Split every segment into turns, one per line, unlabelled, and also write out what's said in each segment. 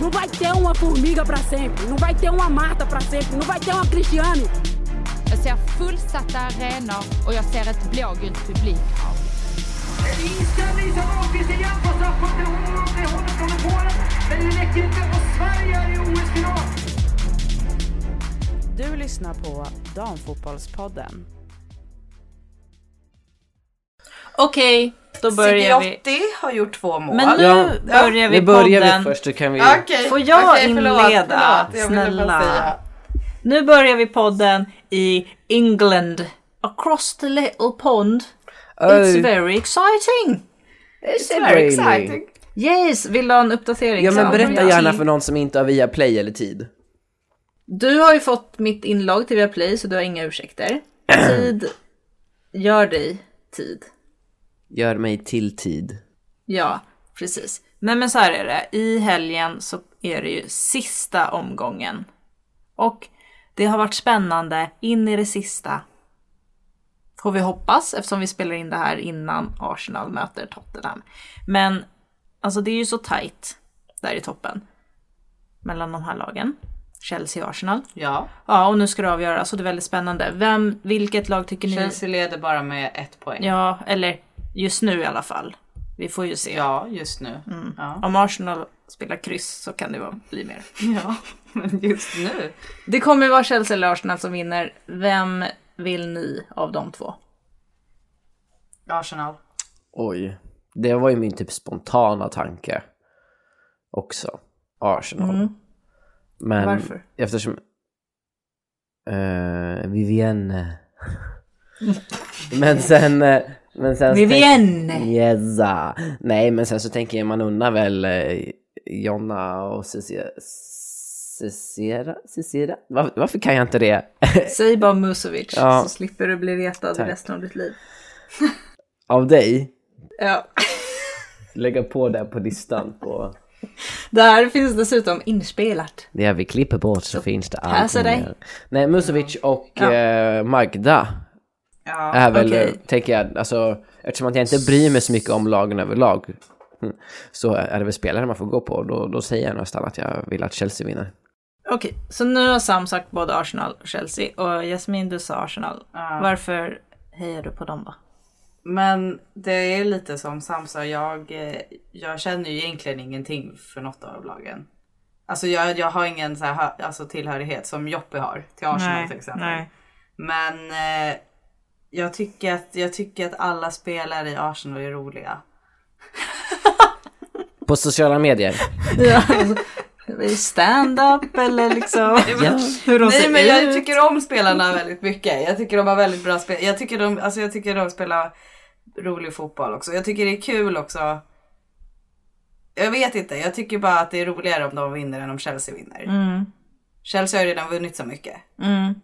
Não vai ter uma formiga para sempre, não vai ter uma Marta para sempre, não vai ter uma Cristiane.
Jag ser fullsatta arenor och jag ser ett blågult publikhav.
Inställning som Ahlqvist igen på straffpunkten. Hon håller från Polen, men det räcker inte. Och Sverige är i OS-final.
Du lyssnar på Damfotbollspodden.
Okej, då börjar vi.
Sigiotti har gjort två mål.
Men nu
Ja.
börjar vi
Vi börjar
podden.
vi först så kan vi...
Okej,
Får jag
okej, förlåt,
inleda,
förlåt, jag ville bara
snälla?
säga.
Nu börjar vi podden i England. Across the little pond. It's
Oj.
very exciting.
It's
Very
really.
exciting.
Yes, vill du ha en uppdatering?
Ja men
Sam?
berätta gärna för någon som inte har via play eller tid.
Du har ju fått mitt inlogg till Viaplay så du har inga ursäkter. Tid gör dig tid.
Gör mig till tid.
Ja, precis. Nej men så här är det. I helgen så är det ju sista omgången. Och det har varit spännande in i det sista. Får vi hoppas eftersom vi spelar in det här innan Arsenal möter Tottenham. Men alltså det är ju så tajt där i toppen. Mellan de här lagen. Chelsea och Arsenal.
Ja,
Ja, och nu ska det avgöras och det är väldigt spännande. Vem, vilket lag tycker ni...
Chelsea leder bara med ett poäng. Ja,
Ja, eller just nu i alla fall. Vi får ju se.
just nu. Ja.
Om Arsenal spelar kryss så kan det vara- bli mer.
ja, men just nu.
Det kommer ju vara Chelsea eller Arsenal som vinner. Vem vill ni av de två?
Alltså,
Arsenal.
Oj. Det var ju min typ spontana tanke. Också. Arsenal. Men
Varför?
Eftersom... Uh, Vivienne. men sen... eh, Men sen så
Vivienne!
tänk- Yes. ah. Nej men sen så tänker jag man unnar väl eh, Jonna och Cecilia. Cicera? Cicera? Var, varför kan jag inte det?
Säg bara Musovic
Ja.
så slipper du bli retad
Tack.
resten av ditt liv.
Av dig?
Ja.
Lägga på det på listan på...
Där finns dessutom inspelat.
Det vi klipper bort så finns det allt
passa dig.
mer. Nej, Musovic och
Ja.
eh, Magda
Ja,
är väl,
okej.
eh, tänker jag, alltså eftersom att jag inte bryr mig så mycket om lagen överlag hm, så är det väl spelare man får gå på. Då, då säger jag nästan att jag vill att Chelsea vinner.
Okej, så nu har Sam sagt både Arsenal och Chelsea och Jasmin du sa Arsenal. Varför hejar du på dem då?
Men det är lite som Sam sa, jag, eh, jag känner ju egentligen ingenting för något av lagen. Alltså jag, jag har ingen så här, ha- alltså tillhörighet som Joppe har till Arsenal till exempel. Men eh, jag, tycker att, jag tycker att alla spelare i Arsenal är roliga.
På sociala medier.
Ja, alltså, Stand-up eller liksom
Ja.
hur de
Nej
ser
men jag
ut.
tycker om spelarna väldigt mycket. Jag tycker de har väldigt bra spel. Jag tycker de, alltså jag tycker de spelar rolig fotboll också. Jag tycker det är kul också. Jag vet inte, jag tycker bara att det är roligare om de vinner än om Chelsea vinner.
Mm,
Chelsea har ju redan vunnit så mycket.
mm.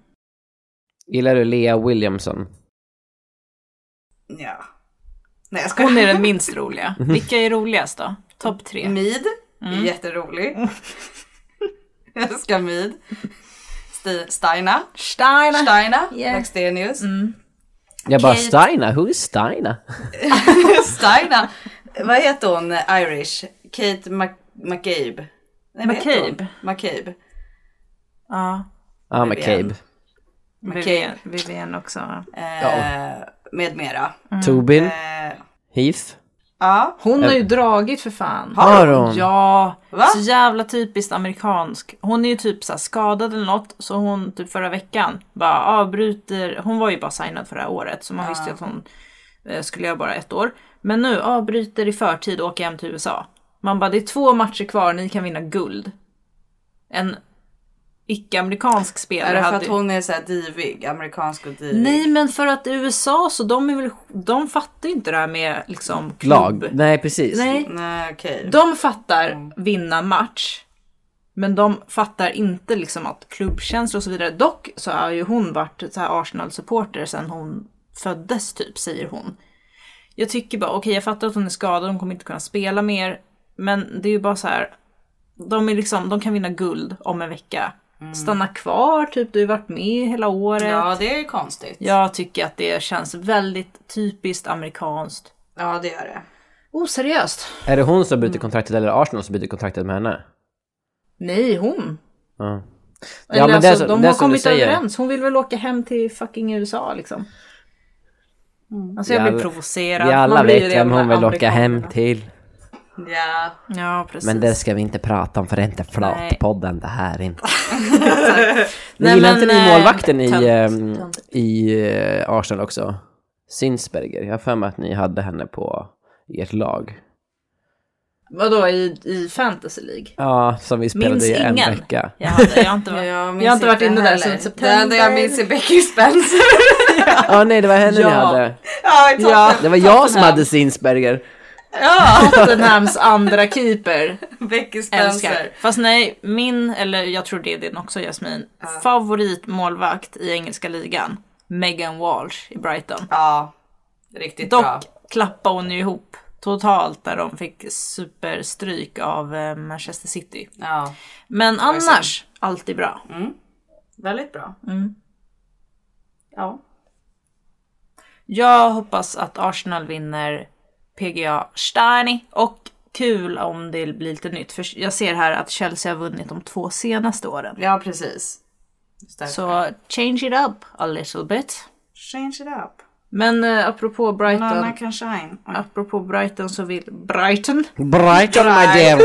Gillar du Lea Williamson?
Ja. Nej jag skojar.
Hon är den minst roliga. Vilka är roligast då? Topp tre.
Mid,
Mm.
är jätterolig. jag älskar Mid. Sti- Steina.
Steiner.
Steina,
Yeah. Mm.
Blackstenius.
Jag bara Steina, who is Steina?
Steina. Vad heter hon, Irish? Kate Mac- McCabe. Nej, vad heter hon?
McCabe.
McCabe.
Ja,
Ah,
Vivian.
McCabe.
Vivian, Vivian också.
Eh,
Ja.
Med mera.
Mm.
Tobin.
Eh,
Heath.
ja.
Hon har ju dragit för fan.
Har hon?
Ja,
Va?
så jävla typiskt amerikansk. Hon är ju typ så här skadad eller något, så hon typ förra veckan bara avbryter. Hon var ju bara signad för det här året, så man visste ju att hon eh, skulle göra bara ett år. Men nu avbryter i förtid och åker hem till USA. Man bara, det är två matcher kvar, ni kan vinna guld. En icke-amerikansk spelare
Är det för
hade
att
ju-
hon är såhär divig? Amerikansk och divig?
Nej men för att i USA så de är väl, de fattar ju inte det här med liksom klubb.
Lag. Nej, precis.
Nej,
Nej okej.
de fattar vinna match. Men de fattar inte liksom att klubbkänslor och så vidare. Dock så har ju hon varit så här Arsenal-supporter sedan hon föddes typ, säger hon. Jag tycker bara, okej jag fattar att hon är skadad, hon kommer inte kunna spela mer. Men det är ju bara så här, de, är liksom, de kan vinna guld om en vecka. Stanna kvar, typ du har ju varit med hela året.
Ja det är konstigt.
Jag tycker att det känns väldigt typiskt amerikanskt.
Ja, det gör det.
Oseriöst.
Är det hon som byter kontraktet eller Arsenal som byter kontraktet med henne?
Nej, hon.
Ja.
Eller
men det är
alltså,
så-
de
det är
har
som du
kommit
säger.
överens. Hon vill väl åka hem till fucking USA liksom. Alltså jag
Vi
blir
alla-
provocerad.
Vi alla
Man blir ju
vet
det av
vem
de
hon
här
vill åka hem
amerikanerna.
till.
Ja,
Ja, precis.
Men det ska vi inte prata om för det är inte
Nej.
Flatpodden det här är inte. Ni
Nej,
gillar
men,
inte ni
eh,
målvakten i,
tönt,
ehm,
tönt.
i eh, Arsenal också? Sinsberger. Jag har för mig att ni hade henne på ert lag.
Vadå, i, i Fantasy League?
Ja, som vi spelade
Minns
i en
ingen.
vecka.
Jag, hade, jag har inte varit,
jag,
jag
minns
har inte varit inne där
heller.
sedan
Det
september.
enda jag minns är Becky Spencer.
Ja, nej det var henne
Ja.
ni hade.
ja, i
Ja.
ja.
Det var jag som hade Sinsberger.
Ja, Tottenhams andra keeper.
Becky
Älskar.
Spencer.
Fast nej, min, eller jag tror det är din också Jasmin, favoritmålvakt i engelska ligan, Megan Walsh i Brighton.
Ja, riktigt
Dock
bra.
klappade hon ju ihop totalt där de fick superstryk av eh, Manchester City.
Ja,
Men annars, alltid bra.
väldigt bra.
Mm.
Ja.
Jag hoppas att Arsenal vinner PGA Steiny och kul om det blir lite nytt. För jag ser här att Chelsea har vunnit de två senaste åren.
ja, precis. Just därför.
Så change it up a little bit.
Change it up.
Men eh, apropå Brighton.
Nana can shine. Oj.
Apropå Brighton så vill Brighton
Brighton my dear.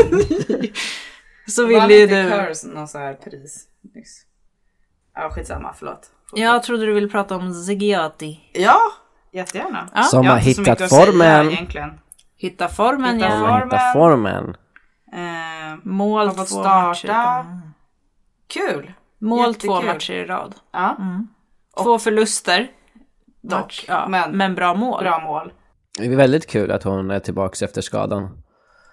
så
Vann
vill ju
inte
du.
Curse någon sån här pris nyss? Ja, skitsamma, förlåt.
Jag trodde du ville prata om Zigiati.
Ja, jättegärna.
Ja.
Som
Jag
har
inte så mycket
hittat
att säga
formen.
egentligen.
Hitta formen
Hitta
ja.
Som har hittat formen.
Eh,
Mål
har fått
två
starta.
matcher.
kul!
Mål två
Jättekul.
matcher i rad.
Ja,
Två förluster. Dock,
Dock,
ja, men,
men-
bra mål.
bra mål.
Det är väldigt kul att hon är tillbaka efter skadan.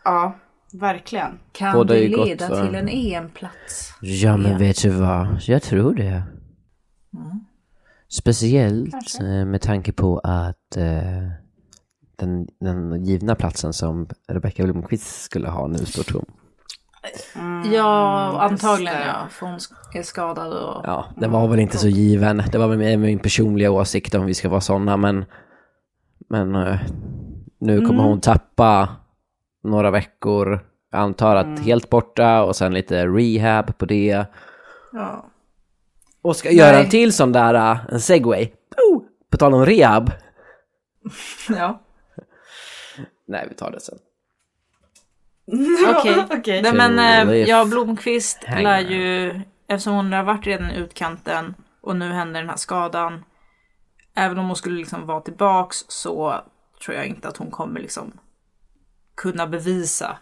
Ja, verkligen.
Kan
Båda är
det
ju gott
leda
för-
till en EM-plats?
Ja, men vet du vad? Jag tror det. Speciellt eh, med tanke på att eh, den, den givna platsen som Rebecca Blomqvist skulle ha nu står tom.
Mm,
ja, antagligen ja. För hon är skadad och...
Ja, den var väl inte så given. Det var väl mer min personliga åsikt om vi ska vara sådana, men, men eh, nu kommer hon tappa några veckor. Jag antar att helt borta och sen lite rehab på det.
Ja.
Och ska göra en till sån där, eh, en segway. Oh, på tal om rehab.
ja.
Nej, vi tar det sen.
Okej. Nej, men eh, ja, Blomqvist
Hang
lär
around.
ju, eftersom hon har varit redan i utkanten och nu händer den här skadan. Även om hon skulle liksom vara tillbaks så tror jag inte att hon kommer liksom kunna bevisa,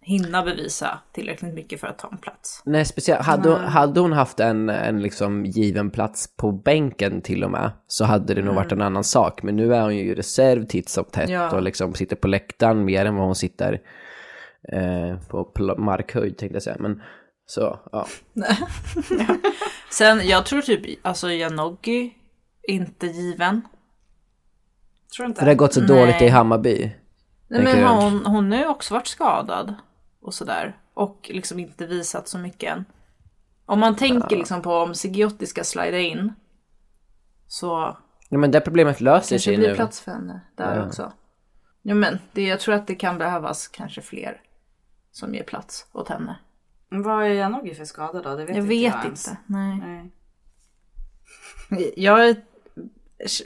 hinna bevisa tillräckligt mycket för att ta en plats.
Nej, speciellt. Hade, hon- hade hon haft en, en liksom given plats på bänken till och med så hade det nog varit en annan sak. Men nu är hon ju i reserv titt som tätt
Mm. Ja.
och liksom sitter på läktaren mer än vad hon sitter eh, på pl- markhöjd tänkte jag säga. Men så, ja.
Sen jag tror typ, alltså Janogy är inte given.
Tror
För det har
inte.
gått så dåligt i Hammarby.
Nej, men
Tänker du?
hon, hon har ju också varit skadad och sådär. Och liksom inte visat så mycket än. Om man tänker liksom på om Sigiotti ska slida in så
Nej, men det problemet löser
kanske
sig
det blir
nu.
plats för henne där också. Ja, men det, jag tror att det kan behövas kanske fler som ger plats åt henne.
Vad är Janogy för skada då? Det vet
Jag
inte
vet
ens.
inte. Nej.
Nej.
Jag är-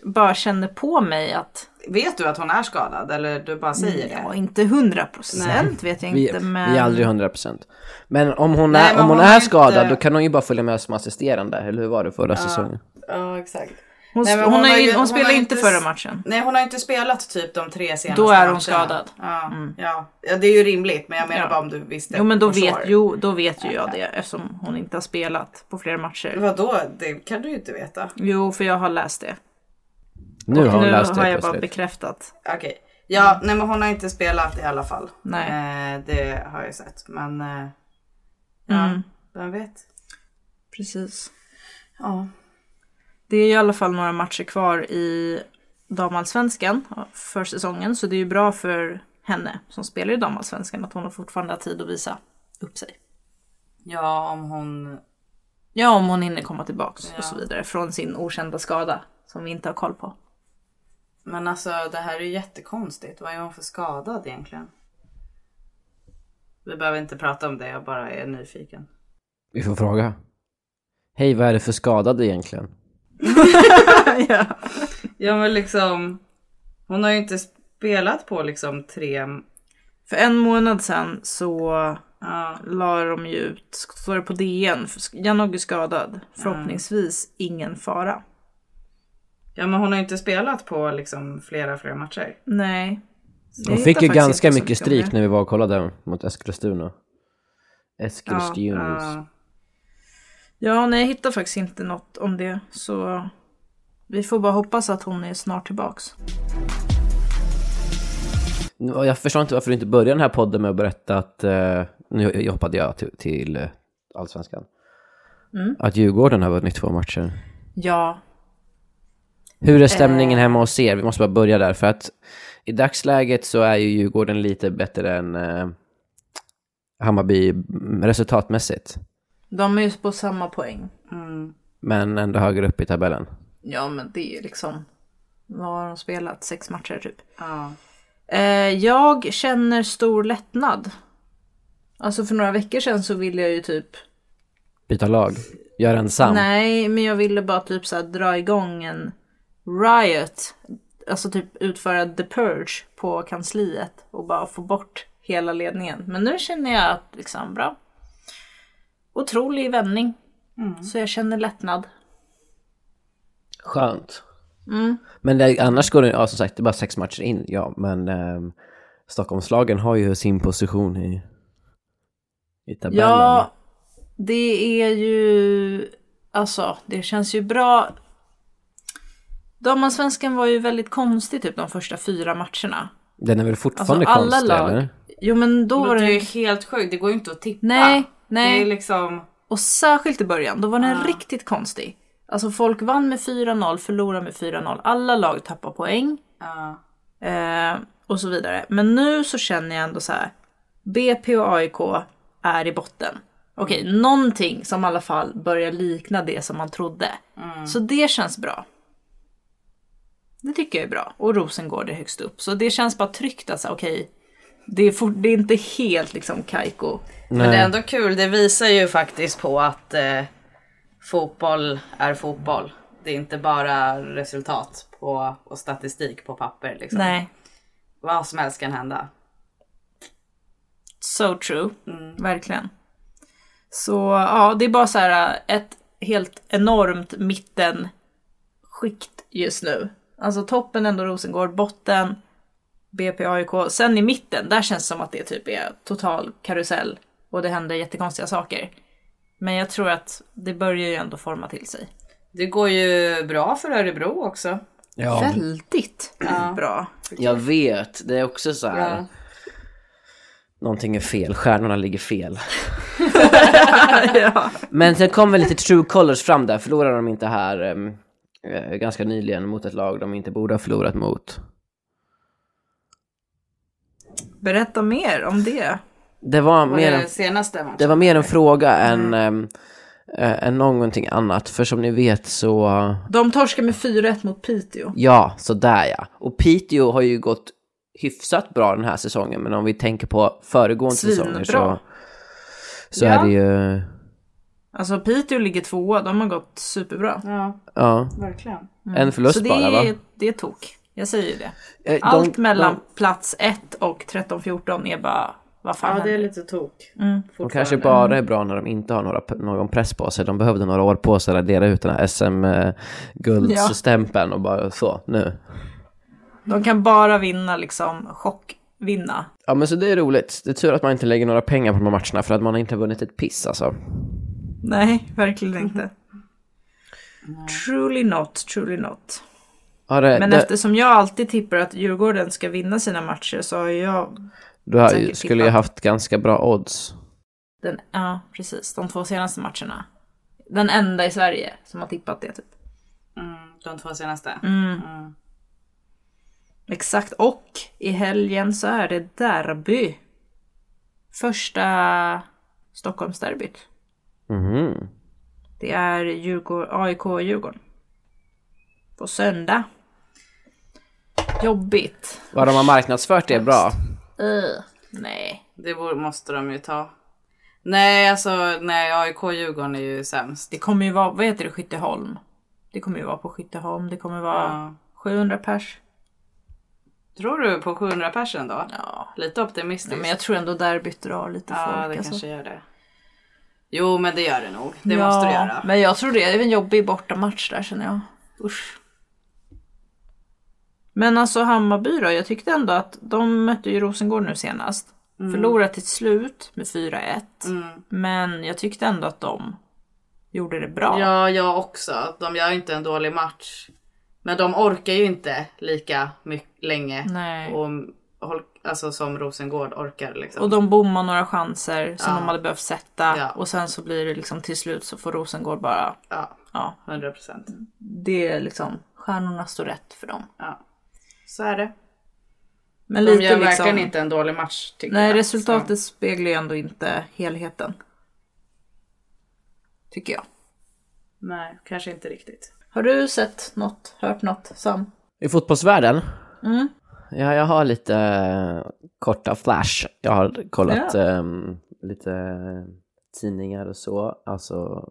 bara känner på mig att,
Vet du att hon är skadad eller du bara säger det?
ja inte hundra procent vet jag
Vi,
inte men.
vi är aldrig 100%. Men om hon
Nej,
är,
men
om hon
hon
är
har
skadad
inte-
då kan hon ju bara följa med som assisterande, eller hur var det förra säsongen?
Ja, exakt.
Hon,
Nej, men
hon,
hon
har
har
ju-
ju-
hon
hon
spelar
har
inte
inte s-
förra matchen.
Nej, hon har inte spelat typ de tre senaste
Då är hon
matcherna.
skadad. Mm.
Ja, ja. ja, det är ju rimligt, men jag menar
Ja.
bara om du visste.
Jo men då
for
vet,
sure.
jo, då vet ju jag det eftersom hon inte har spelat på flera matcher.
Vadå, det kan du ju inte veta.
Jo för jag har läst det.
Nu har hon
nu
löst det
har jag bara
plötsligt.
bekräftat.
Okej. Ja, nej men hon har inte spelat i alla fall.
Mm. Nej.
Eh, det har jag sett, men eh, ja,
Mm.
vem vet.
Precis.
Ja.
Det är i alla fall några matcher kvar i damallsvenskan för säsongen så det är ju bra för henne som spelar i damallsvenskan att hon fortfarande har tid att visa upp sig.
Ja, om hon...
Ja om hon hinner komma tillbaks och så vidare från sin okända skada som vi inte har koll på.
Men alltså det här är ju jättekonstigt. Vad är hon för skadad egentligen? Vi behöver inte prata om det, jag bara är nyfiken.
Vi får fråga. Hej, vad är det för skadade egentligen?
ja. ja men liksom, hon har ju inte spelat på liksom tre,
För en månad sedan så eh,
ja,
la de ju ut, står det på DN, Janogy skadad, förhoppningsvis ingen fara.
ja men hon har ju inte spelat på liksom flera flera matcher.
Nej.
Hon
Jag
fick
hittar
ju
faktiskt
ganska
inte så
mycket
om det.
stryk när vi var och kollade mot Eskilstuna. Eskilstuna.
Ja,
Ja, nej jag hittar faktiskt inte något om det. Så vi får bara hoppas att hon är snart tillbaks.
Nu- Jag förstår inte varför du inte började den här podden med att berätta att, eh, nu hoppade jag till, till eh, allsvenskan,
Mm.
att Djurgården har vunnit två matcher.
Ja.
Hur är stämningen
Eh.
hemma hos er? Vi måste bara börja där, för att i dagsläget så är ju Djurgården lite bättre än eh, Hammarby mm, resultatmässigt,
De är ju på samma poäng.
men ändå högre upp i tabellen.
Ja, men det är liksom... Vad har de spelat? Sex matcher typ.
ja.
Eh, jag känner stor lättnad. Alltså för några veckor sedan så ville jag ju typ...
Byta lag, gör ensam.
Nej, men jag ville bara typ så här dra igång en riot. Alltså typ utföra the purge på kansliet och bara få bort hela ledningen. Men nu känner jag att liksom bra. Otrolig vändning. Så jag känner lättnad.
Skönt.
Mm.
Men det, annars går det, ja som sagt, det är bara sex matcher in, ja men ehm, Stockholmslagen har ju sin position i, i tabellen.
Ja, det är ju... Alltså, det känns ju bra. Damallsvenskan var ju väldigt konstig typ de första fyra matcherna.
Den är väl
Alltså
fortfarande
alla
konstig
lag.
eller?
Jo men då var
Men
det
det
ju...
är ju helt sjukt, det går ju inte att tippa.
Nej,
Det
nej.
är liksom,
Och särskilt i början, då var den riktigt konstig. Alltså folk vann med 4-0, förlorade med 4-0. Alla lag tappar poäng.
ja.
Eh, och så vidare. Men nu så känner jag ändå så här. BP och AIK är i botten. Okej, någonting som i alla fall börjar likna det som man trodde. Så det känns bra. Det tycker jag är bra. Och Rosengård är högst upp. Så det känns bara tryggt att säga okej, det, är fort- det är inte helt liksom Kaiko.
Men det är ändå kul, det visar ju faktiskt på att eh, fotboll är fotboll. Det är inte bara resultat på, och statistik på papper. Liksom.
Nej,
Vad som helst kan hända.
so true. Verkligen. Så ja, det är bara så här äh, ett helt enormt mittenskikt just nu. Alltså toppen ändå Rosengård, botten BP AIK. Sen i mitten, där känns det som att det typ är total karusell och det händer jättekonstiga saker. Men jag tror att det börjar ju ändå forma till sig.
Det går ju bra för Örebro också.
Ja,
Väldigt bra.
jag vet. Det är också så här.
Ja.
Någonting är fel, stjärnorna ligger fel.
ja.
Men sen kom väl lite true colors fram där, förlorade de inte här ehm, eh, ganska nyligen mot ett lag de inte borde ha förlorat mot.
Berätta mer om det.
Det var
Var
mer
det
en
den senaste matchen?
Det var mer en fråga än, ehm, eh, än någonting annat. För som ni vet så,
De torskar med 4-1 mot Piteå.
ja, så där ja. Och Piteå har ju gått hyfsat bra den här säsongen. Men om vi tänker på föregående
Svinbra.
säsonger så, så
Ja.
är det ju,
Alltså Piteå ligger tvåa, de har gått superbra.
Ja,
ja,
verkligen.
en förlust
Mm. Så det
bara va?
är, det är tok. Jag säger ju det.
Eh, de-
Allt mellan
de-
plats 1 och 13-14 är bara, vad fan
Ja, det är
händer? Mm.
lite tok.
De kanske bara är bra när de inte har några, någon press på sig. De behövde några år på sig att radera ut den här SM-guldsstämpeln och bara så, nu.
De kan bara vinna liksom, chockvinna.
Ja men så det är roligt. Det är tur att man inte lägger några pengar på de här matcherna för att man har inte vunnit ett piss alltså.
Nej, verkligen inte. Truly not, truly not.
Har det,
Men
det,
eftersom jag alltid tippar att Djurgården ska vinna sina matcher så har jag
du har, ju-
säkert
skulle ju
tippat.
haft ganska bra odds.
den, ja precis, de två senaste matcherna. Den enda i Sverige som har tippat det typ.
Mm, de två senaste.
Exakt, och i helgen så är det derby. Första Stockholmsderbyt.
Mhm.
Det är Djurgård, AIK och Djurgården. På söndag. Jobbigt.
Vad de har marknadsfört det är bra.
Öh, nej.
Det borde- måste de ju ta. Nej, alltså nej, AIK Djurgården är ju sämst.
Det kommer ju vara, vad heter det, Skytteholm? Det kommer ju vara på Skytteholm, det kommer vara
Ja.
700 pers.
Tror du på 700 personer då?
Ja.
Lite optimistiskt.
Nej, men jag tror ändå derbyt drar lite
ja,
folk.
det
alltså.
kanske gör det. Jo, men det gör det nog. Det
ja,
måste det göra.
Men jag tror det är en jobbig bortamatch där känner jag. Usch. Men alltså Hammarby då, jag tyckte ändå att de mötte ju Rosengård nu senast.
Mm.
Förlorade till slut med 4-1. Men jag tyckte ändå att de gjorde det bra.
Ja, jag också. De gör inte en dålig match. Men de orkar ju inte lika mycket länge
Nej.
Och, håll- alltså, som Rosengård orkar. Liksom.
Och de bommar några chanser som
Ja.
de hade behövt sätta.
Ja.
Och sen så blir det liksom till slut så får Rosengård bara,
Ja,
ja,
100 procent.
Mm. det är liksom, stjärnorna står rätt för dem.
Ja. Så är det.
Men
De
lite
gör
liksom,
verkligen inte en dålig match tycker
Nej,
jag.
resultatet speglar ju ändå inte helheten. Tycker jag.
Så, nej, kanske inte riktigt.
Har du sett något, hört något Sam? Mm.
I fotbollsvärlden? Ja, jag har lite eh, korta flash. Jag har kollat ehm, lite eh, tidningar och så. Alltså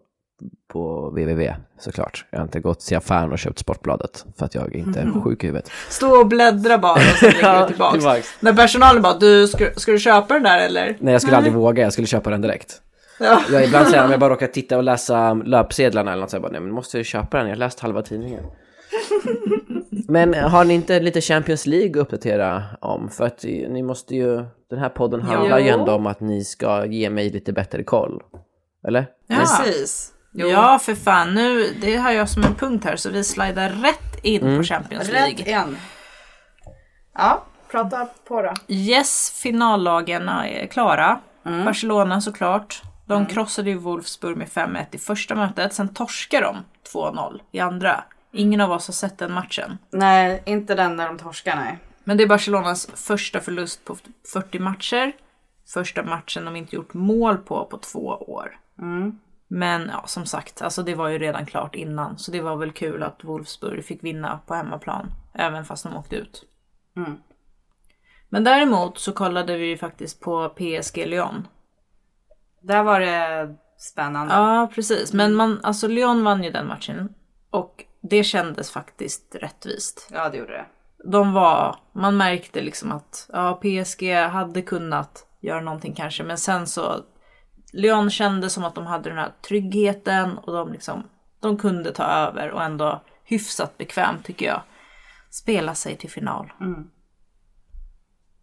på www såklart. Jag har inte gått till affären och köpt Sportbladet för att jag inte är sjuk i huvudet.
Stå och bläddra bara och sen lägger du tillbaks.
tillbaks.
När personalen bara, du, ska, ska du köpa den där eller?
Nej, jag skulle aldrig våga. Jag skulle köpa den direkt.
Ja.
Jag, ibland säger jag, om jag bara råkar titta och läsa löpsedlarna eller något så jag bara, nej men måste jag ju köpa den, jag har läst halva tidningen. men har ni inte lite Champions League att uppdatera om? För att ni måste ju, den här podden handlar ju ändå om att ni ska ge mig lite bättre koll. Eller?
Precis. Jo.
Ja, för fan. Nu, det har jag som en punkt här, så vi slidar rätt in på Champions League.
Rätt en. Ja, prata på då.
Yes, finallagen är klara. Barcelona såklart. De krossade ju Wolfsburg med 5-1 i första mötet, sen torskade de 2-0 i andra. Ingen av oss har sett den matchen.
Nej, inte den när de torskar nej.
Men det är Barcelonas första förlust på 40 matcher. Första matchen de inte gjort mål på på två år. Men ja, som sagt, alltså det var ju redan klart innan. Så det var väl kul att Wolfsburg fick vinna på hemmaplan. Även fast de åkte ut. Men däremot så kollade vi ju faktiskt på PSG Lyon.
Där var det spännande.
Ja, precis. Men man, alltså Lyon vann ju den matchen. Och det kändes faktiskt rättvist.
Ja, det gjorde det.
de var, man märkte liksom att ja, PSG hade kunnat göra någonting kanske, men sen så Lyon kände som att de hade den här tryggheten och de liksom, de kunde ta över och ändå hyfsat bekvämt tycker jag spela sig till final.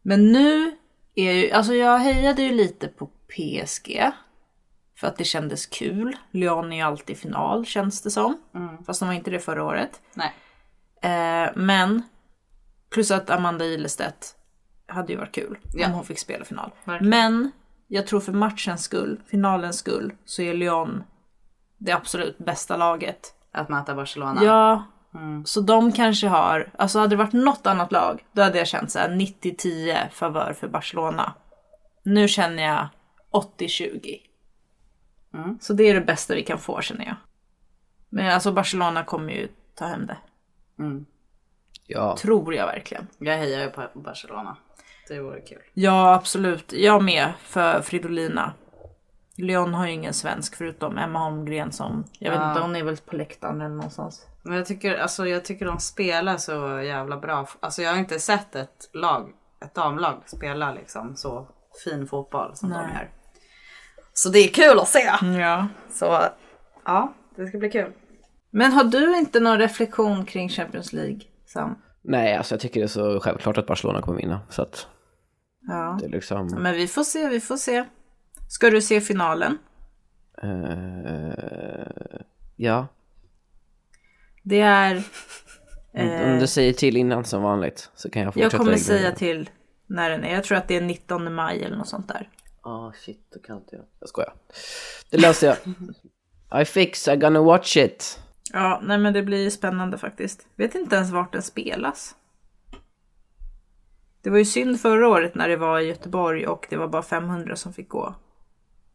Men nu är ju, alltså jag hejade ju lite på PSG för att det kändes kul. Lyon är ju alltid i final känns det som, fast de var inte det förra året.
Nej.
Eh, men plus att Amanda Ilestedt hade ju varit kul
Ja.
om hon fick spela final.
Verkligen.
Men jag tror för matchens skull, finalens skull, så är Lyon det absolut bästa laget.
Att möta Barcelona.
Ja,
Mm.
så de kanske har, alltså hade det varit något annat lag, då hade jag känt så här 90-10 favör för Barcelona. Nu känner jag 80-20.
Mm.
Så det är det bästa vi kan få känner jag. Men alltså Barcelona kommer ju ta hem det.
Ja.
Tror jag verkligen.
Jag hejar ju på Barcelona. Det vore kul.
Ja, absolut. Jag med för Fridolina. Leon har ju ingen svensk förutom Emma Holmgren som, jag vet inte, hon är väl på läktaren eller någonstans.
Men jag tycker, alltså, jag tycker de spelar så jävla bra. Alltså, jag har inte sett ett, lag, ett damlag spela liksom, så fin fotboll som de gör. Så det är kul att se.
Ja.
Så ja, det ska bli kul.
Men har du inte någon reflektion kring Champions League, Sam?
Nej, alltså jag tycker det är så självklart att Barcelona kommer vinna. Så att
Ja.
det är liksom...
Men vi får se, vi får se. Ska du se finalen?
eh, ja.
Det är,
Om- Om du säger till innan som vanligt så kan jag
Eh. jag
fortsätta.
kommer
regla
säga
igen.
till när den är. Jag tror att det är 19 maj eller något sånt där.
Ah shit, då kan inte jag. Jag skojar. Det löser jag. I fix, I gonna watch it.
Ja, nej men det blir ju spännande faktiskt. Vet inte ens vart den spelas. Det var ju synd förra året när det var i Göteborg och det var bara 500 som fick gå.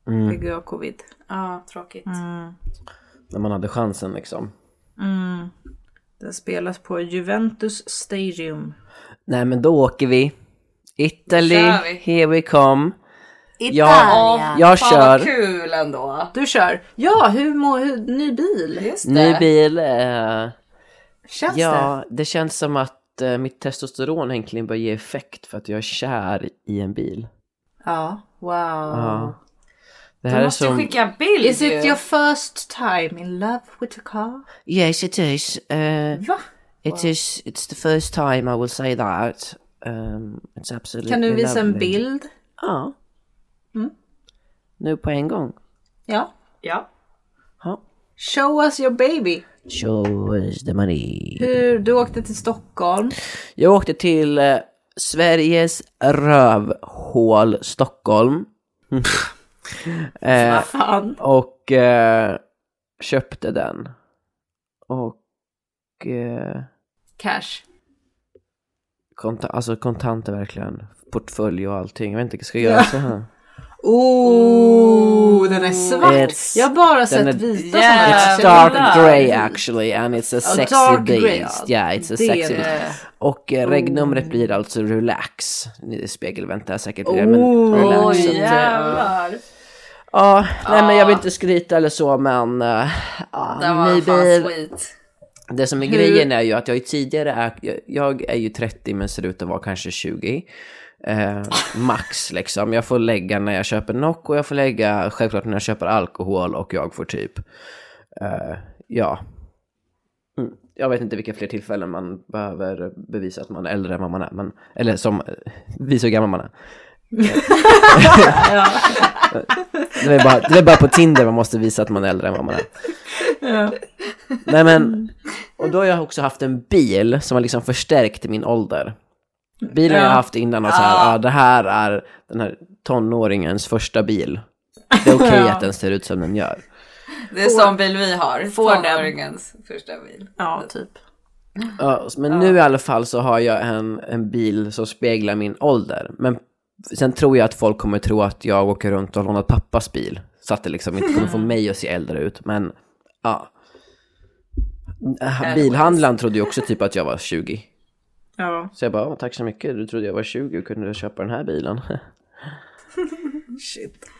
Mm.
Fick gå av covid. Mm.
Ja, tråkigt.
När man hade chansen liksom.
Den spelas på Juventus Stadium.
Nej men då åker vi. Italy,
Då kör vi.
here we come. Ja, jag
Fan vad
kör.
kul ändå.
Du kör. Ja, hur mår... Hur, ny bil.
Just det.
Ny bil. Eh,
Känns det?
ja, det känns som att eh, mitt testosteron äntligen börjar ge effekt för att jag är kär i en bil.
Ja. Wow.
Ja.
Du
Det här är
måste
som...
skicka bild
Is it
ju.
your first time in love with a car?
Yes it is. Eh,
Va?
It is, it's the first time I will say that. Um, it's absolutely
Kan du visa en
lovely.
bild? Mm.
Ja. Nu på en gång.
Ja.
Ja.
Ja.
Show us your baby.
Show us the money.
Hur du åkte till Stockholm.
Jag åkte till eh, Sveriges rövhål Stockholm. eh,
Vad fan.
och eh, köpte den. Och eh,
Cash.
konta- alltså kontanter verkligen. Portfölj och allting. Jag vet inte, ska jag göra så här?
Oh, den är svart.
It's-
jag har bara
den är-
sett vita
Yeah.
sådana.
It's
Absolut.
dark grey actually and it's a sexy
dark grey,
beast.
ja.
Yeah, it's a
Det är
sexy
det. Oh.
beast. Och eh, regnumret blir alltså relax. Ni- Spegelväntar säkert på det, men relax.
Oh, Oj,
så att, eh,
jävlar.
Ja, nej men jag vill inte skryta eller så men... Uh,
Den var
ny
fan
bil.
sweet.
Det som är grejen är ju att jag ju tidigare är... jag- Jag är ju 30 men ser ut att vara kanske 20. Eh, max liksom. Jag får lägga när jag köper Nock och jag får lägga självklart när jag köper alkohol och jag får typ... eh, ja. Mm. Jag vet inte vilka fler tillfällen man behöver bevisa att man är äldre än vad man är. Men, eller som... eh, Visa hur gammal man är. Det är, bara, det är bara på Tinder man måste visa att man är äldre än vad man är. Nej men, och då har jag också haft en bil som har liksom förstärkt min ålder. Bilen jag har haft innan och så här, ah, det här är den här tonåringens första bil. Det är okej att den ser ut som den gör.
Det är sån bil vi har.
Får den.
Tonåringens första bil.
Ja, typ.
Ja, men nu i alla fall så har jag en, en bil som speglar min ålder. Men sen tror jag att folk kommer tro att jag åker runt och har lånat pappas bil. Så att det liksom inte kommer få mig att se äldre ut. Men ja. Bilhandlaren trodde ju också typ att jag var 20.
Ja.
Så jag bara, "Åh, tack så mycket, du trodde jag var 20 och kunde köpa den här bilen.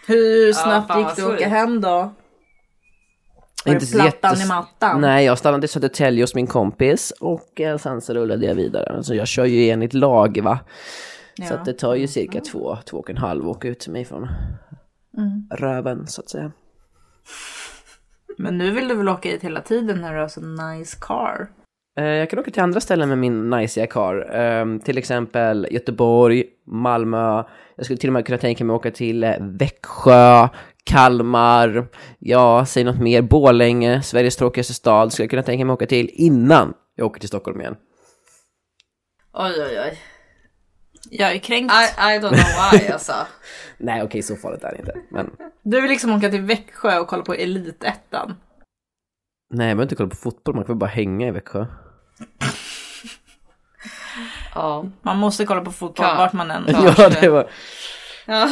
Hur snabbt
fan,
gick
vad
du att åka
sweet.
hem då? Var
Inte
det
så
plattan
jättes-
i mattan?
Nej, jag stannade i Södertälje hos min kompis och eh, sen så rullade jag vidare. Så jag kör ju enligt lag va. Så att det tar
Mm.
ju cirka två, två och en halv åka ut till mig från
Mm.
röven så att säga.
Men nu vill du väl åka hit hela tiden när du har så nice car?
Eh, Jag kan åka till andra ställen med min najsiga car. Ehm, till exempel Göteborg, Malmö. Jag skulle till och med kunna tänka mig att åka till eh, Växjö, Kalmar. Ja, säg något mer. Borlänge, Sveriges tråkigaste stad. Skulle jag kunna tänka mig att åka till innan jag åker till Stockholm igen.
Oj oj oj.
Jag är kränkt.
I, I don't know why alltså.
Nej, okej, så farligt är det inte. Men
Du vill liksom åka till Växjö och kolla på Elitettan.
nej, jag behöver inte kolla på fotboll. Man kan väl bara hänga i Växjö.
Ja.
Man måste kolla på fotboll
Ja.
vart man än
Ja, det var,
Ja.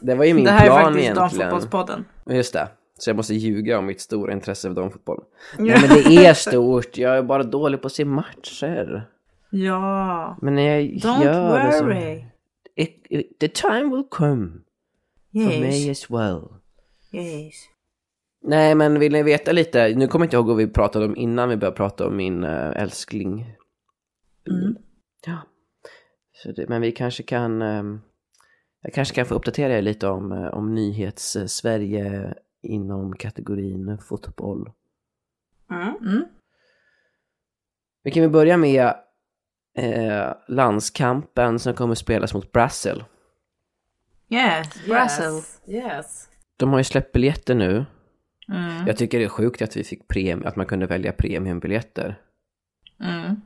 det var ju min
Det här är
plan
faktiskt
egentligen.
Damfotbollspodden.
Just det. Så jag måste ljuga om mitt stora intresse för damfotboll. Nej men det är stort, jag är bara dålig på att se matcher.
Ja.
Men när jag
Don't
gör det så...
worry.
It, it, the time will come for me
Yes.
as well.
yes.
Nej men vill ni veta lite, nu kommer jag inte ihåg vad vi pratade om innan vi började prata om min eh, älskling.
Mm.
Ja. Så det, men vi kanske kan, ehm, jag kanske kan få uppdatera er lite om, eh, om nyhets-Sverige inom kategorin fotboll.
Mm.
Vi kan väl börja med eh, landskampen som kommer spelas mot Brasil.
Yes. Brazil.
Yes. yes.
De har ju släppt biljetter nu.
Mm.
Jag tycker det är sjukt att vi fick premium, att man kunde välja premiumbiljetter.
Mm.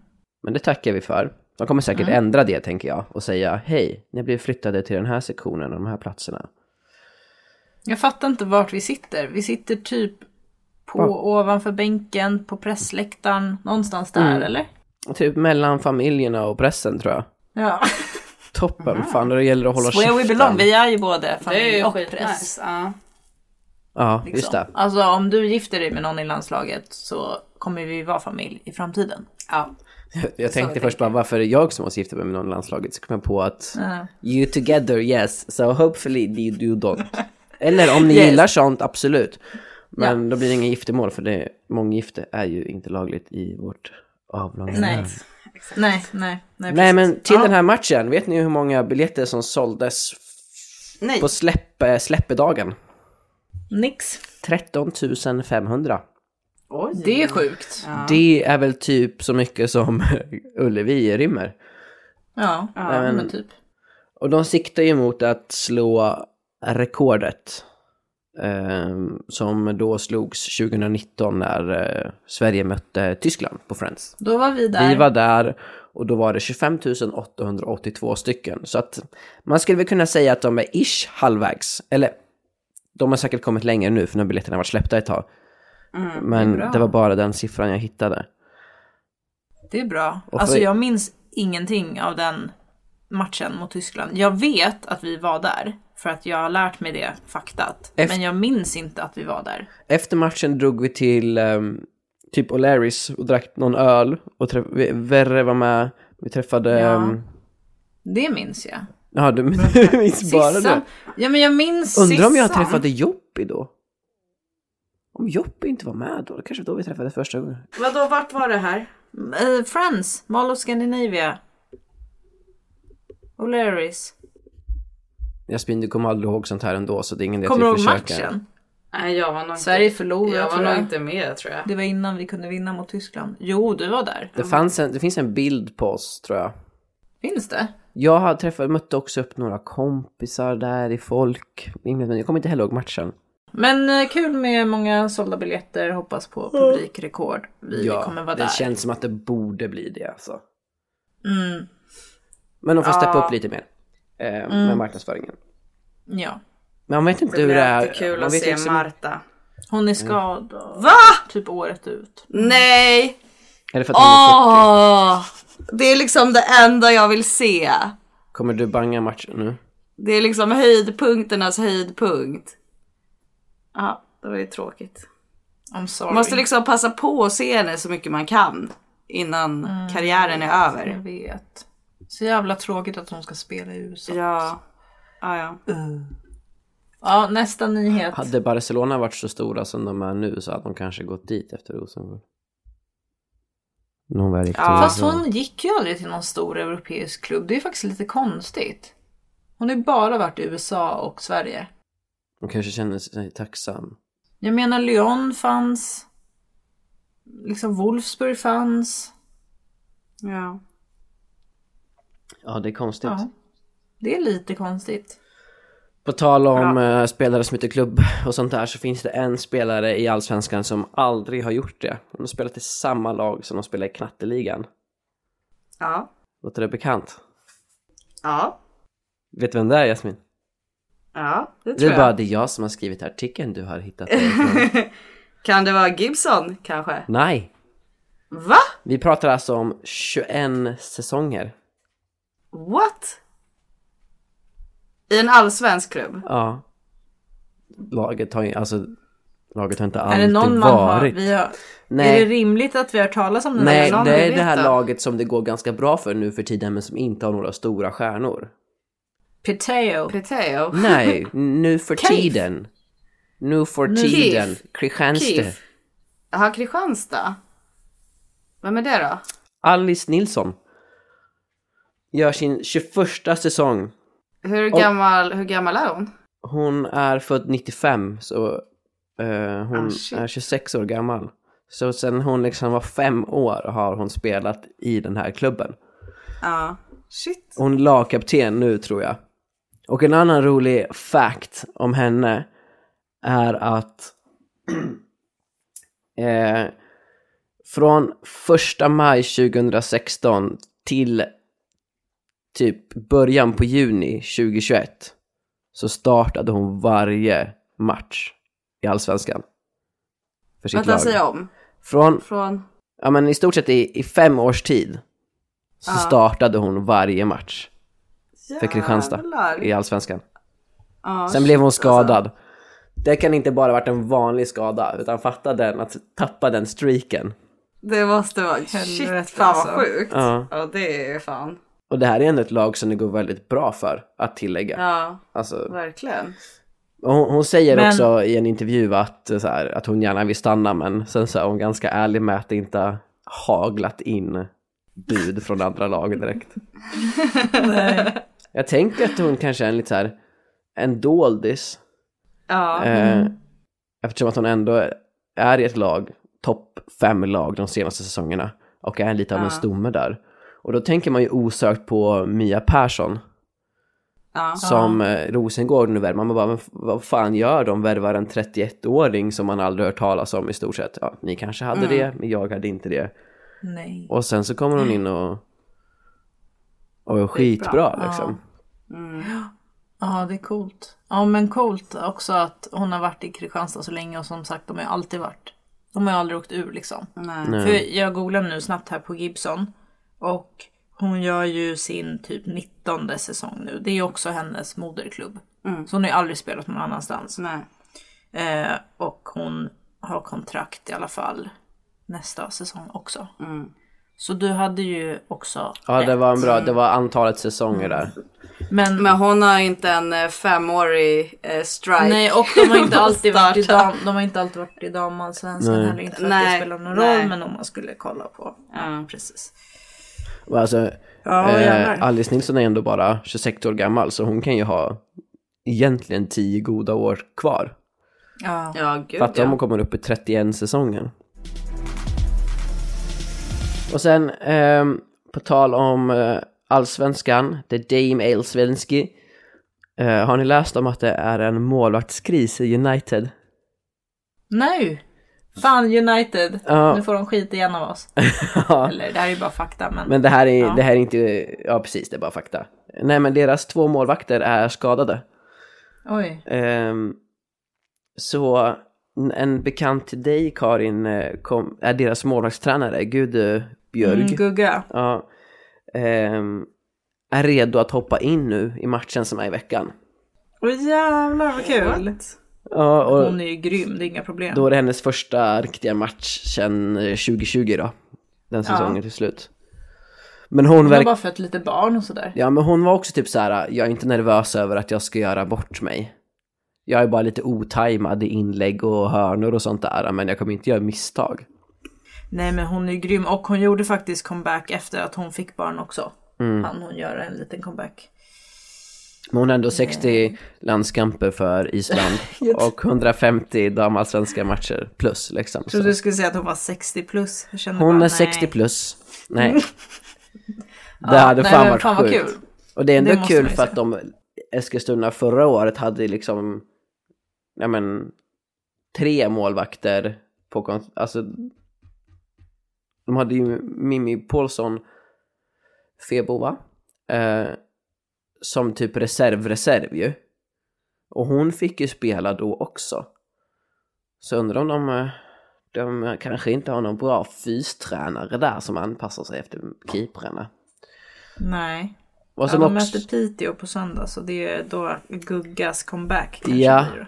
Men det tackar vi för. De kommer säkert ändra det tänker jag och säga hej, ni blir flyttade till den här sektionen och de här platserna.
Jag fattar inte vart vi sitter. Vi sitter typ på ovanför bänken, på pressläktaren, någonstans där
Mm.
eller?
Typ mellan familjerna och pressen tror jag.
Ja.
Toppen, fan då gäller det att hålla
Where we belong. Vi är ju både
Det är
familj
ju
och press.
skitnice. Ja.
Ja,
liksom.
just det.
Alltså om du gifter dig med någon i landslaget så kommer vi vara familj i framtiden.
ja.
Jag, jag
Så
tänkte
tänker
först bara varför är det jag som måste gifta mig med någon i landslaget? Så kom jag på att you together yes, so hopefully you do don't. Eller om ni
Yes.
gillar sånt, absolut. Men då blir det inga giftermål för det, månggifte är ju inte lagligt i vårt avlånga
Nej.
land.
Nej, nej, nej.
Nej
precis.
men till
Ja.
den här matchen, vet ni hur många biljetter som såldes
Nej,
på släpp, eh, släppedagen?
Nix.
13 500.
oj.
Det är sjukt. Ja.
Det är väl typ så mycket som Ullevi rymmer.
Ja,
Nej, men-
men typ.
Och de siktar ju mot att slå rekordet. ehm, som då slogs 2019 när eh, Sverige mötte Tyskland på Friends.
Då var vi där.
Vi var där och då var det 25 882 stycken. Så att man skulle väl kunna säga att de är ish halvvägs. Eller de har säkert kommit längre nu för när biljetterna har varit släppta ett tag. Men
Mm, det är bra.
det var bara den siffran jag hittade.
Det är bra.
Och
Alltså
för-
jag minns ingenting av den matchen mot Tyskland. Jag vet att vi var där, för att jag har lärt mig det faktat.
Efter-
Men jag minns inte att vi var där.
Efter matchen drog vi till ehm, typ O'Larrys och drack någon öl. Och träff- vi- Verre var med. Vi träffade...
Ja.
ehm,
Det minns jag.
Ja, du, du minns bara
Sissan.
det.
Ja men jag minns
Undrar om jag
Sissan.
träffade Joppi då? Om Joppi inte var med då? Det kanske var då vi träffades första gången.
Vadå, vart var det här?
Eh, Friends, Mall of Scandinavia. O'Learys.
Jasmin, du kommer aldrig ihåg sånt här ändå så det är ingen idé att
Kommer du
vi
ihåg
typ försöker.
matchen?
Nej, jag var nog inte,
Sverige förlorade
jag var
tror
nog
jag.
inte med tror jag.
Det var innan vi kunde vinna mot Tyskland. Jo, du var där.
Det, fanns en, det finns en bild på oss tror jag.
Finns det?
Jag har träffat, mötte också upp några kompisar där i folk. Men jag kommer inte heller ihåg matchen.
Men eh, kul med många sålda biljetter, hoppas på publikrekord. Vi kommer vara
det
där.
känns som att det borde bli det alltså.
Mm,
Men de får steppa upp lite mer eh, med marknadsföringen.
Mm. ja.
Men man vet inte
Det
hur
blir
det är.
alltid kul
man
att
vet
se
Mm. liksom-
Marta.
Hon är skadad.
Va?
Typ året ut.
Nej!
Är det för att hon är 40?
Ah.
Åh! Det är liksom det enda jag vill se.
Kommer du banga matchen nu?
Det är liksom höjdpunkternas höjdpunkt. Ja, det var ju tråkigt.
I'm sorry.
Man måste liksom passa på att se henne så mycket man kan innan
Mm.
karriären är
Jag
över.
vet. Så jävla tråkigt att hon ska spela i USA.
Ja. Ja, ja.
Ja, nästa nyhet.
Hade Barcelona varit så stora som de är nu så hade de kanske gått dit efter Rosengård. Någon var riktigt
Ja.
Fast hon gick ju aldrig till någon stor europeisk klubb. Det är faktiskt lite konstigt. Hon har ju bara varit i USA och Sverige.
Hon kanske känner sig tacksam.
Jag menar Lyon fanns. Liksom Wolfsburg fanns.
ja.
Ja, det är konstigt.
Ja. Det är lite konstigt.
På tal om eh, spelare som byter klubb och sånt där så finns det en spelare i Allsvenskan som aldrig har gjort det. Hon har spelat i samma lag som de spelar i knatteligan.
Ja.
Låter det bekant?
Ja.
Vet du vem det är Jasmin?
Ja, det
Det
tror
är bara
jag.
det är jag som har skrivit artikeln du har hittat. därifrån.
Kan det vara Gibson kanske?
Nej,
Va?
vi pratar alltså om 21 säsonger.
What? I en allsvensk klubb?
Ja. Laget har ju, alltså, laget har inte
Är
alltid
det någon man har,
varit.
vi har...
Nej.
Är det rimligt att vi har talat om den här
Nej,
personen?
det är
vet
det här
då?
laget som det går ganska bra för nu för tiden men som inte har några stora stjärnor.
Piteo.
Preteo?
Nej, nu för
Keif.
tiden. Nu för tiden. Kristianstad.
KIF? Jaha, Kristianstad? Vem är det då?
Alice Nilsson. Gör sin 21 säsong.
Hur
Och-
gammal, hur gammal är hon?
Hon är född 95 så eh, hon
Ah, shit.
är 26 år gammal. Så sen hon liksom var fem år har hon spelat i den här klubben.
Ja. Shit.
Hon är lagkapten nu tror jag. Och en annan rolig fact om henne är att eh, från 1 maj 2016 till typ början på juni 2021 så startade hon varje match i allsvenskan. För sitt
Vänta,
lag.
säg om.
Från
Från...
ja, men i stort sett i, i fem års tid så
Ja.
startade hon varje match för Kristianstad
Jävlar.
i allsvenskan.
Ja, alltså.
Sen blev hon skadad. Det kan inte bara varit en vanlig skada, utan fatta den, att tappa den streaken.
Det måste vara
Helvete,
shit fan vad
alltså.
sjukt.
Ja.
Ja det är fan.
Och det här är ändå ett lag som det går väldigt bra för, att tillägga.
Ja
Alltså,
verkligen.
och hon, hon säger
Men-
också i en intervju att, eh, så här, att hon gärna vill stanna, men sen så är hon ganska ärlig med att det inte har haglat in bud från andra lag direkt. Jag tänker att hon kanske är en lite så här, en doldis.
Ja.
Eh, eftersom att hon ändå är i ett lag, topp fem lag de senaste säsongerna. Och är lite av en stomme där. Och då tänker man ju osökt på Mia Persson.
Ja.
Som eh, Rosengård nu värvar. Man bara, "Men f- vad fan gör de? Värvar en 31-åring som man aldrig hört talas om i stort sett. Ja, ni kanske hade det, men jag hade inte det.
Nej.
Och sen så kommer hon in och... Och är skitbra liksom.
Ja, det är coolt. Ja, men coolt också att hon har varit i Kristianstad så länge och som sagt, de har ju alltid varit. De har ju aldrig åkt ur liksom.
Nej.
För jag googlar nu snabbt här på Gibson och hon gör ju sin typ 19 säsong nu. Det är ju också hennes moderklubb.
Mm.
Så hon har ju aldrig spelat någon annanstans.
Nej.
Eh, och hon har kontrakt i alla fall nästa säsong också. Så du hade ju också
Mm. Ja, det
rätt.
var en bra, det var antalet säsonger där.
Men,
Men hon har inte en eh, femårig eh, strike.
nej, och de har inte alltid varit i,
Starta.
dam, de har inte alltid varit i damallsvenskan
Nej.
heller. Inte för att det
Nej,
spelar någon
nej.
roll, men om man skulle kolla på. Ja, precis.
Och Alltså,
Ja,
eh,
jävlar.
Alice Nilsson är ändå bara 26 år gammal så hon kan ju ha egentligen 10 goda år kvar.
Ja.
Ja gud
För att
ja.
om hon kommer upp i 31 säsongen. Och sen, ehm, på tal om eh, allsvenskan, The Dame Elsvenski. Eh, har ni läst om att det är en målvaktskris i United?
Nej! Fan United!
Ja.
Nu får de skit igen av oss. Eller det här är ju bara fakta men.
Men det här, är, det här är inte, ja precis, det är bara fakta. Nej men deras två målvakter är skadade.
Oj.
Ehm, så n- en bekant till dig Karin eh, kom, är deras målvaktstränare, Gud eh, Björg.
Mm, gugga.
ja, ehm, är redo att hoppa in nu i matchen som är i veckan.
Åh jävlar vad kul!
Ja, och
Hon är ju grym, det är inga problem.
då är det hennes första riktiga match sedan eh, 2020 då. Den säsongen till slut. Men hon
Hon har
verkar...
bara fött lite barn och sådär.
Ja, men hon var också typ så här, jag är inte nervös över att jag ska göra bort mig. Jag är bara lite otajmad i inlägg och hörnor och sånt där, men jag kommer inte göra misstag.
Nej men hon är ju grym och hon gjorde faktiskt comeback efter att hon fick barn också. Mm. Han hon göra en liten comeback.
Men hon har ändå 60 landskamper för Island och 150 damallsvenska matcher plus liksom.
Så
Så.
du skulle säga att hon var 60 plus? Jag kände
Hon
bara,
är 60
nej.
plus. Nej. Det hade
nej,
fan
men
varit
fan vad
sjukt.
kul.
Och det är ändå
Det måste
kul
man ju
för att
säga.
de Eskilstuna förra året hade liksom, ja men, tre målvakter på kon- alltså de hade ju Mimmi Paulsson Febova eh, som typ reservreserv ju. Och hon fick ju spela då också. Så undrar om de, eh, de kanske inte har någon bra fystränare där som anpassar sig efter keeprarna.
Nej.
Och
Ja,
som
de
också-
möter Piteå på söndag så det är då Guggas comeback kanske
Ja.
blir.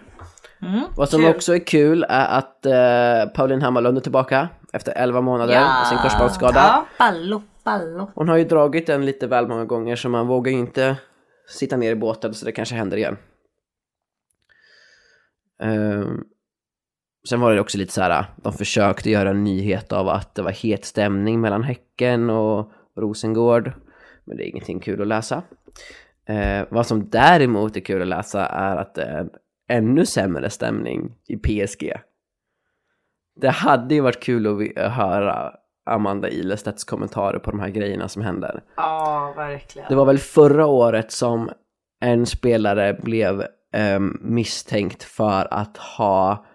Vad som också är kul är att eh, Pauline Hammarlund är tillbaka efter 11 månader av sin korsbandsskada.
Ballo, ballo.
Hon har ju dragit den lite väl många gånger så man vågar ju inte sitta ner i båten så det kanske händer igen. Ehm, sen var det också lite så här, de försökte göra en nyhet av att det var het stämning mellan Häcken och Rosengård. Men det är ingenting kul att läsa. Ehm, vad som däremot är kul att läsa är att det är en ännu sämre stämning i PSG. Det hade ju varit kul att vi- höra Amanda Ilestedts kommentarer på de här grejerna som händer.
Ja verkligen.
Det var väl förra året som en spelare blev ehm, misstänkt för att ha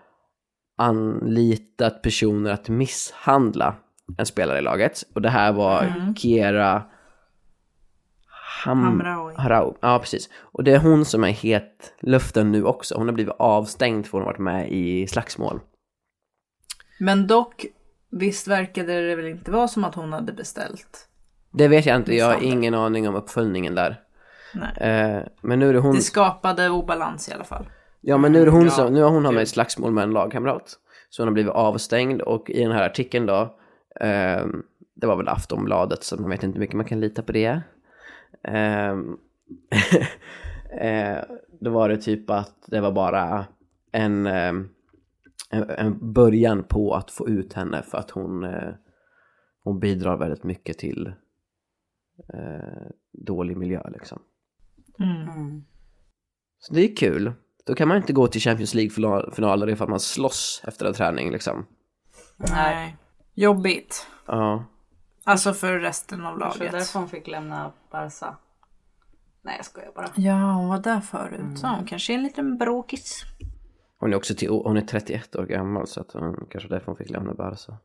anlitat personer att misshandla en spelare i laget. Och det här var
Mm.
Kiera Ham-
Hamraoui.
Harau. Ja, precis. Och det är hon som är het luften nu också. Hon har blivit avstängd för hon har varit med i slagsmål.
Men dock, visst verkade det väl inte vara som att hon hade beställt?
Det vet jag inte, jag har ingen aning om uppföljningen där.
Nej.
Eh, men nu är det hon
Det skapade obalans i alla fall.
Ja men nu är det hon som, nu har hon hamnat i ett slagsmål med en lagkamrat. Så hon har blivit avstängd och i den här artikeln då Ehm, det var väl Aftonbladet så man vet inte hur mycket man kan lita på det. Ehm, eh, då var det typ att det var bara en, ehm, en, en början på att få ut henne för att hon, eh, hon bidrar väldigt mycket till eh, dålig miljö liksom.
Mm.
Så det är kul. Då kan man inte gå till Champions League-finaler ifall man slåss efter en träning liksom.
Nej.
Jobbigt.
Ja.
Alltså för resten av
Så
laget.
därför hon fick lämna Barca. Nej jag skojar bara.
Ja, hon var där förut. Så hon kanske är en liten bråkis.
Hon är också till, hon är 31 år gammal så att hon kanske därför hon fick lämna Barca.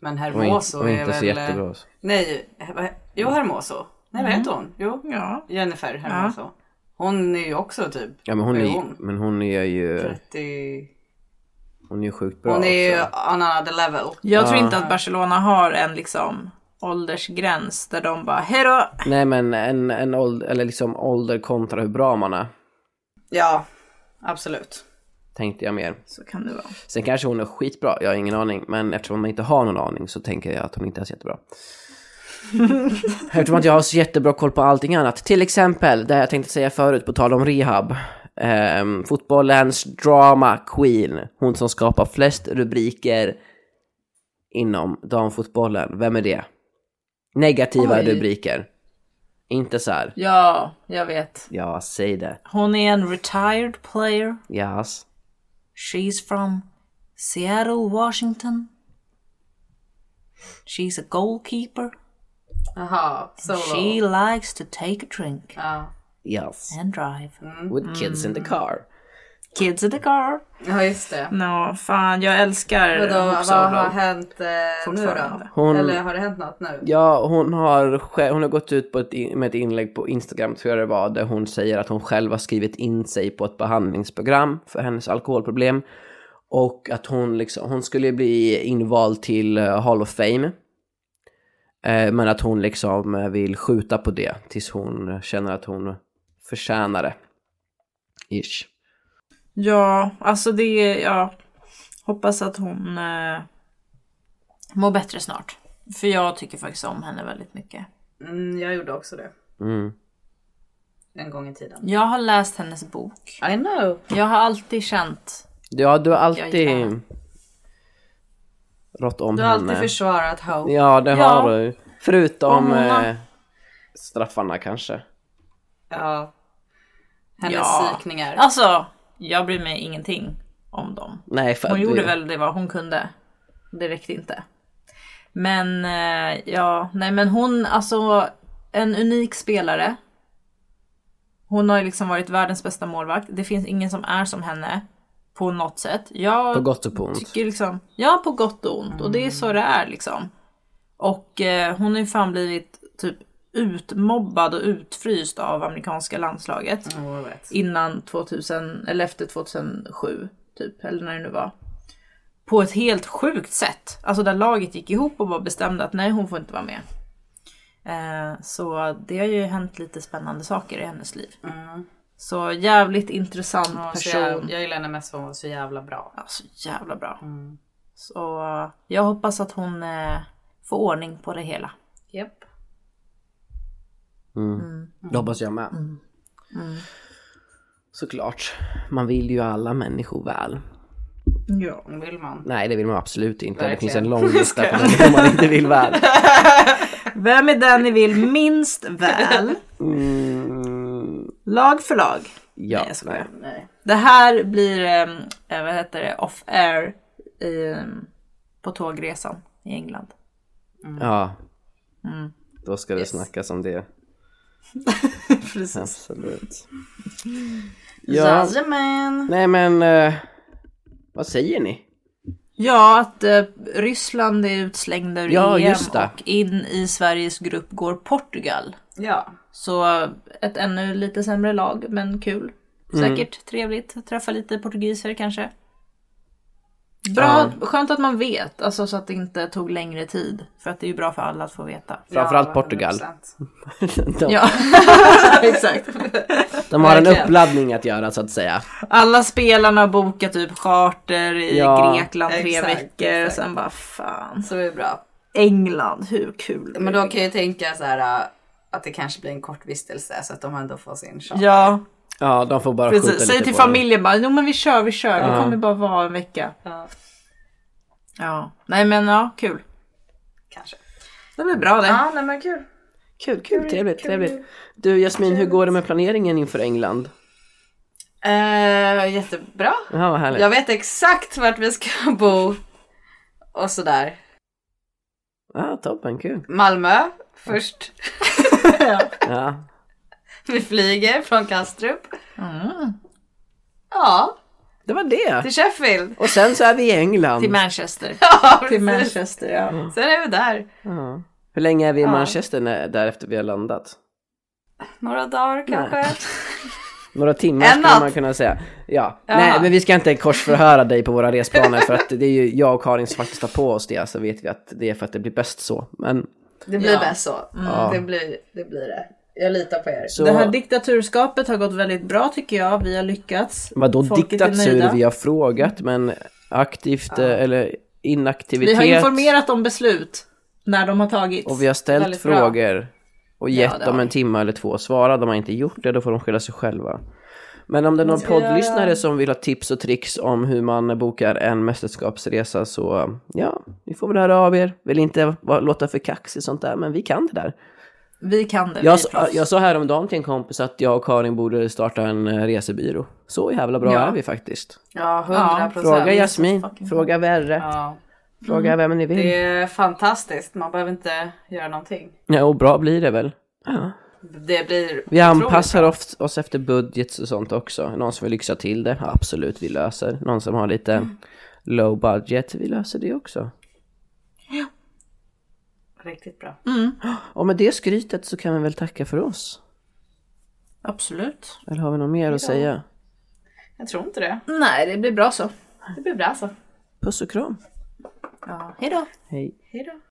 Men
Hon är,
Hermoso
hon är
är,
inte
väl... eh,
så jättebra. Så.
Nej, vad he- jo Hermoso. Nej vad heter hon? Jo,
Mm. Ja.
Jennifer Hermoso. Hon är ju också typ
Ja men hon
Vad
är,
är
ju-
hon?
men hon är ju,
30...
hon är ju sjukt bra
Hon är ju
också.
on another level.
Jag tror
Ja.
inte att Barcelona har en liksom åldersgräns där de bara hejdå.
Nej men en, en ålder, eller liksom ålder kontra hur bra man är.
Ja, absolut.
Tänkte jag mer.
Så kan det vara.
Sen kanske hon är skitbra, jag har ingen aning. Men eftersom man inte har någon aning så tänker jag att hon inte är så jättebra. eftersom att jag har så jättebra koll på allting annat. Till exempel det jag tänkte säga förut på tal om rehab. Ehm, fotbollens drama queen. Hon som skapar flest rubriker inom damfotbollen. Vem är det? Negativa
Oj.
rubriker. Inte så här.
Ja, jag vet.
Ja, säg det.
Hon är en retired player.
Yes.
She's from Seattle, Washington. She's a goalkeeper.
Jaha,
She
solo.
likes to take a drink
Ja.
Yes.
and drive.
With kids in the car.
Kids in the car.
ja, just det.
Nå, fan jag älskar
Vadå,
Hope
vad har
Solo.
hänt eh, nu då?
Eh, Fortfarande.
Hon-
Eller har det hänt något nu?
Ja, hon har, själv, hon har gått ut på ett, in- med ett inlägg på Instagram, tror jag det var, där hon säger att hon själv har skrivit in sig på ett behandlingsprogram för hennes alkoholproblem. Och att hon, liksom, hon skulle bli invald till eh, Hall of Fame. Eh, men att hon liksom eh, vill skjuta på det tills hon känner att hon förtjänar det. Ish.
Ja, alltså det är, ja. Hoppas att hon eh, mår bättre snart. För jag tycker faktiskt om henne väldigt mycket.
Mm, jag gjorde också det.
Mm.
En gång i tiden.
Jag har läst hennes bok.
I know.
Jag har alltid känt,
Ja, du har alltid
Ja, ja.
rått om
Du har alltid
henne.
försvarat Hope.
Mm, Ja, det
Ja.
har du. Förutom
Och Mona.
eh, straffarna kanske.
Ja. Hennes
Ja.
psykningar.
alltså jag bryr mig ingenting om dem.
Nej, för
Hon
att
gjorde
du,
väl det vad hon kunde. Det räckte inte. Men eh, ja, nej men hon, alltså en unik spelare. Hon har ju liksom varit världens bästa målvakt. Det finns ingen som är som henne på något sätt. Jag
På gott och på ont.
tycker liksom, ja på gott och ont och det är
Mm.
så det är liksom. Och eh, hon har ju fan blivit typ utmobbad och utfryst av amerikanska landslaget
Oh, jag vet.
innan 2000 eller efter 2007 typ eller när det nu var. På ett helt sjukt sätt. Alltså där laget gick ihop och bara bestämde att nej hon får inte vara med. Eh, så det har ju hänt lite spännande saker i hennes liv. Så jävligt intressant
Hon var Mm. så
person.
jävla, jag gillar henne mest för hon var så jävla bra. Mm,
Ja, så jävla bra. Så jag hoppas att hon eh, får ordning på det hela.
Japp.
Mm.
Mm.
Det hoppas jag med. Såklart. Man vill ju alla människor väl.
Ja.
Vill man.
Nej, det vill man absolut inte. Det
Verkligen.
finns en lång lista på människor man inte vill väl.
Vem är den ni vill minst väl?
Mm,
Lag för lag.
ja,
Nej, jag skojar.
nej.
Nej.
Det här blir, ehm, eh, vad heter det, off air i, ehm, på tågresan i England. Mm.
Ja. Då ska det snackas om det.
Precis.
Absolut. Ja. Nej men, eh, vad säger ni?
Ja, att eh, Ryssland är utslängda ur
Ja,
EM
just det.
och in i Sveriges grupp går Portugal.
Ja.
Så ett ännu lite sämre lag, men kul. Säkert trevligt. Träffa lite portugiser kanske. Bra, skönt att man vet, alltså så att det inte tog längre tid. För att det är ju bra för alla att få veta.
Framförallt
Ja,
Portugal.
100%.
De,
Ja, exakt.
de har en
verkligen.
uppladdning att göra så att säga.
Alla spelarna bokar typ charter i
Ja.
Grekland tre
Exakt,
veckor.
exakt.
Sen bara fan.
Så det är bra.
England, hur kul.
Men då kan jag ju tänka så här äh, att det kanske blir en kort vistelse så att de ändå får sin chans.
Ja,
Ja, de får bara skjuta
precis. Säg
lite
till
på det.
familjen bara, jo men vi kör, vi kör.
Ja.
Vi kommer bara vara en vecka.
Ja.
Ja, nej men ja, kul.
Kanske.
Det blir bra det.
Ja, nej men kul.
Kul, kul, trevligt, trevligt. Du Jasmin, hur går det med planeringen inför England?
Eh, jättebra.
Ja, vad härligt.
Jag vet exakt vart vi ska bo. Och sådär.
Ja, toppen, kul.
Malmö först.
Ja.
Vi flyger från Kastrup.
Mm.
Ja,
Det var det.
till Sheffield.
Och sen så är vi i England.
Till Manchester.
Ja,
Till
precis.
Manchester,
Mm.
ja.
Sen är vi där.
Ja. Hur länge är vi i Manchester när, därefter vi har landat?
Några dagar kanske.
Några timmar
En
skulle man
natt.
kunna säga. Ja.
Ja.
Nej, men vi ska inte korsförhöra dig på våra resplaner för att det är ju jag och Karin som faktiskt tar på oss det. Så vet vi att det är för att det blir bäst så. Men
Det blir
Ja.
bäst så.
Ja.
Mm, Det, blir, det blir det. Jag litar på er.
så,
Det här diktaturskapet har gått väldigt bra tycker jag. Vi har lyckats.
vadå
folket är
diktatur?
nöjda.
Vi har frågat men aktivt eh, eller
Vi
inaktivitet.
har informerat om beslut när de har tagits.
Och vi har ställt
Väldigt bra.
frågor och gett
Ja, det har
dem en
vi.
timme eller två att svara. De har inte gjort det, då får de skylla sig själva. Men om det är någon poddlyssnare som vill ha tips och tricks om hur man bokar en mästerskapsresa så ja, ni får väl höra av er. Vill inte va- låta för kaxig sånt där, men vi kan det där.
Vi kan det. vi är
Jag, sa-
proffs.
jag sa häromdagen till en kompis att jag och Karin borde starta en eh, resebyrå. Så jävla bra
Ja.
är vi faktiskt.
Ja, hundra
Ja,
procent.
Fråga Jasmin,
fucking Mm.
fråga Verre,
Ja,
fråga vem ni vill.
det är fantastiskt. Man behöver inte göra någonting.
Ja, och bra blir det väl. Ja.
Det blir
Vi anpassar oft- oss efter budgets och sånt också. Någon som vill lyxa till det, absolut, vi löser. Någon som har lite low budget, vi löser det också.
riktigt bra.
Och med det skrytet så kan vi väl tacka för oss.
Absolut.
Eller har vi något mer att säga?
Jag tror inte det.
Nej, det blir bra så.
Det blir bra så.
Puss och kram.
Ja. Hej då.
Hej.
Hej då.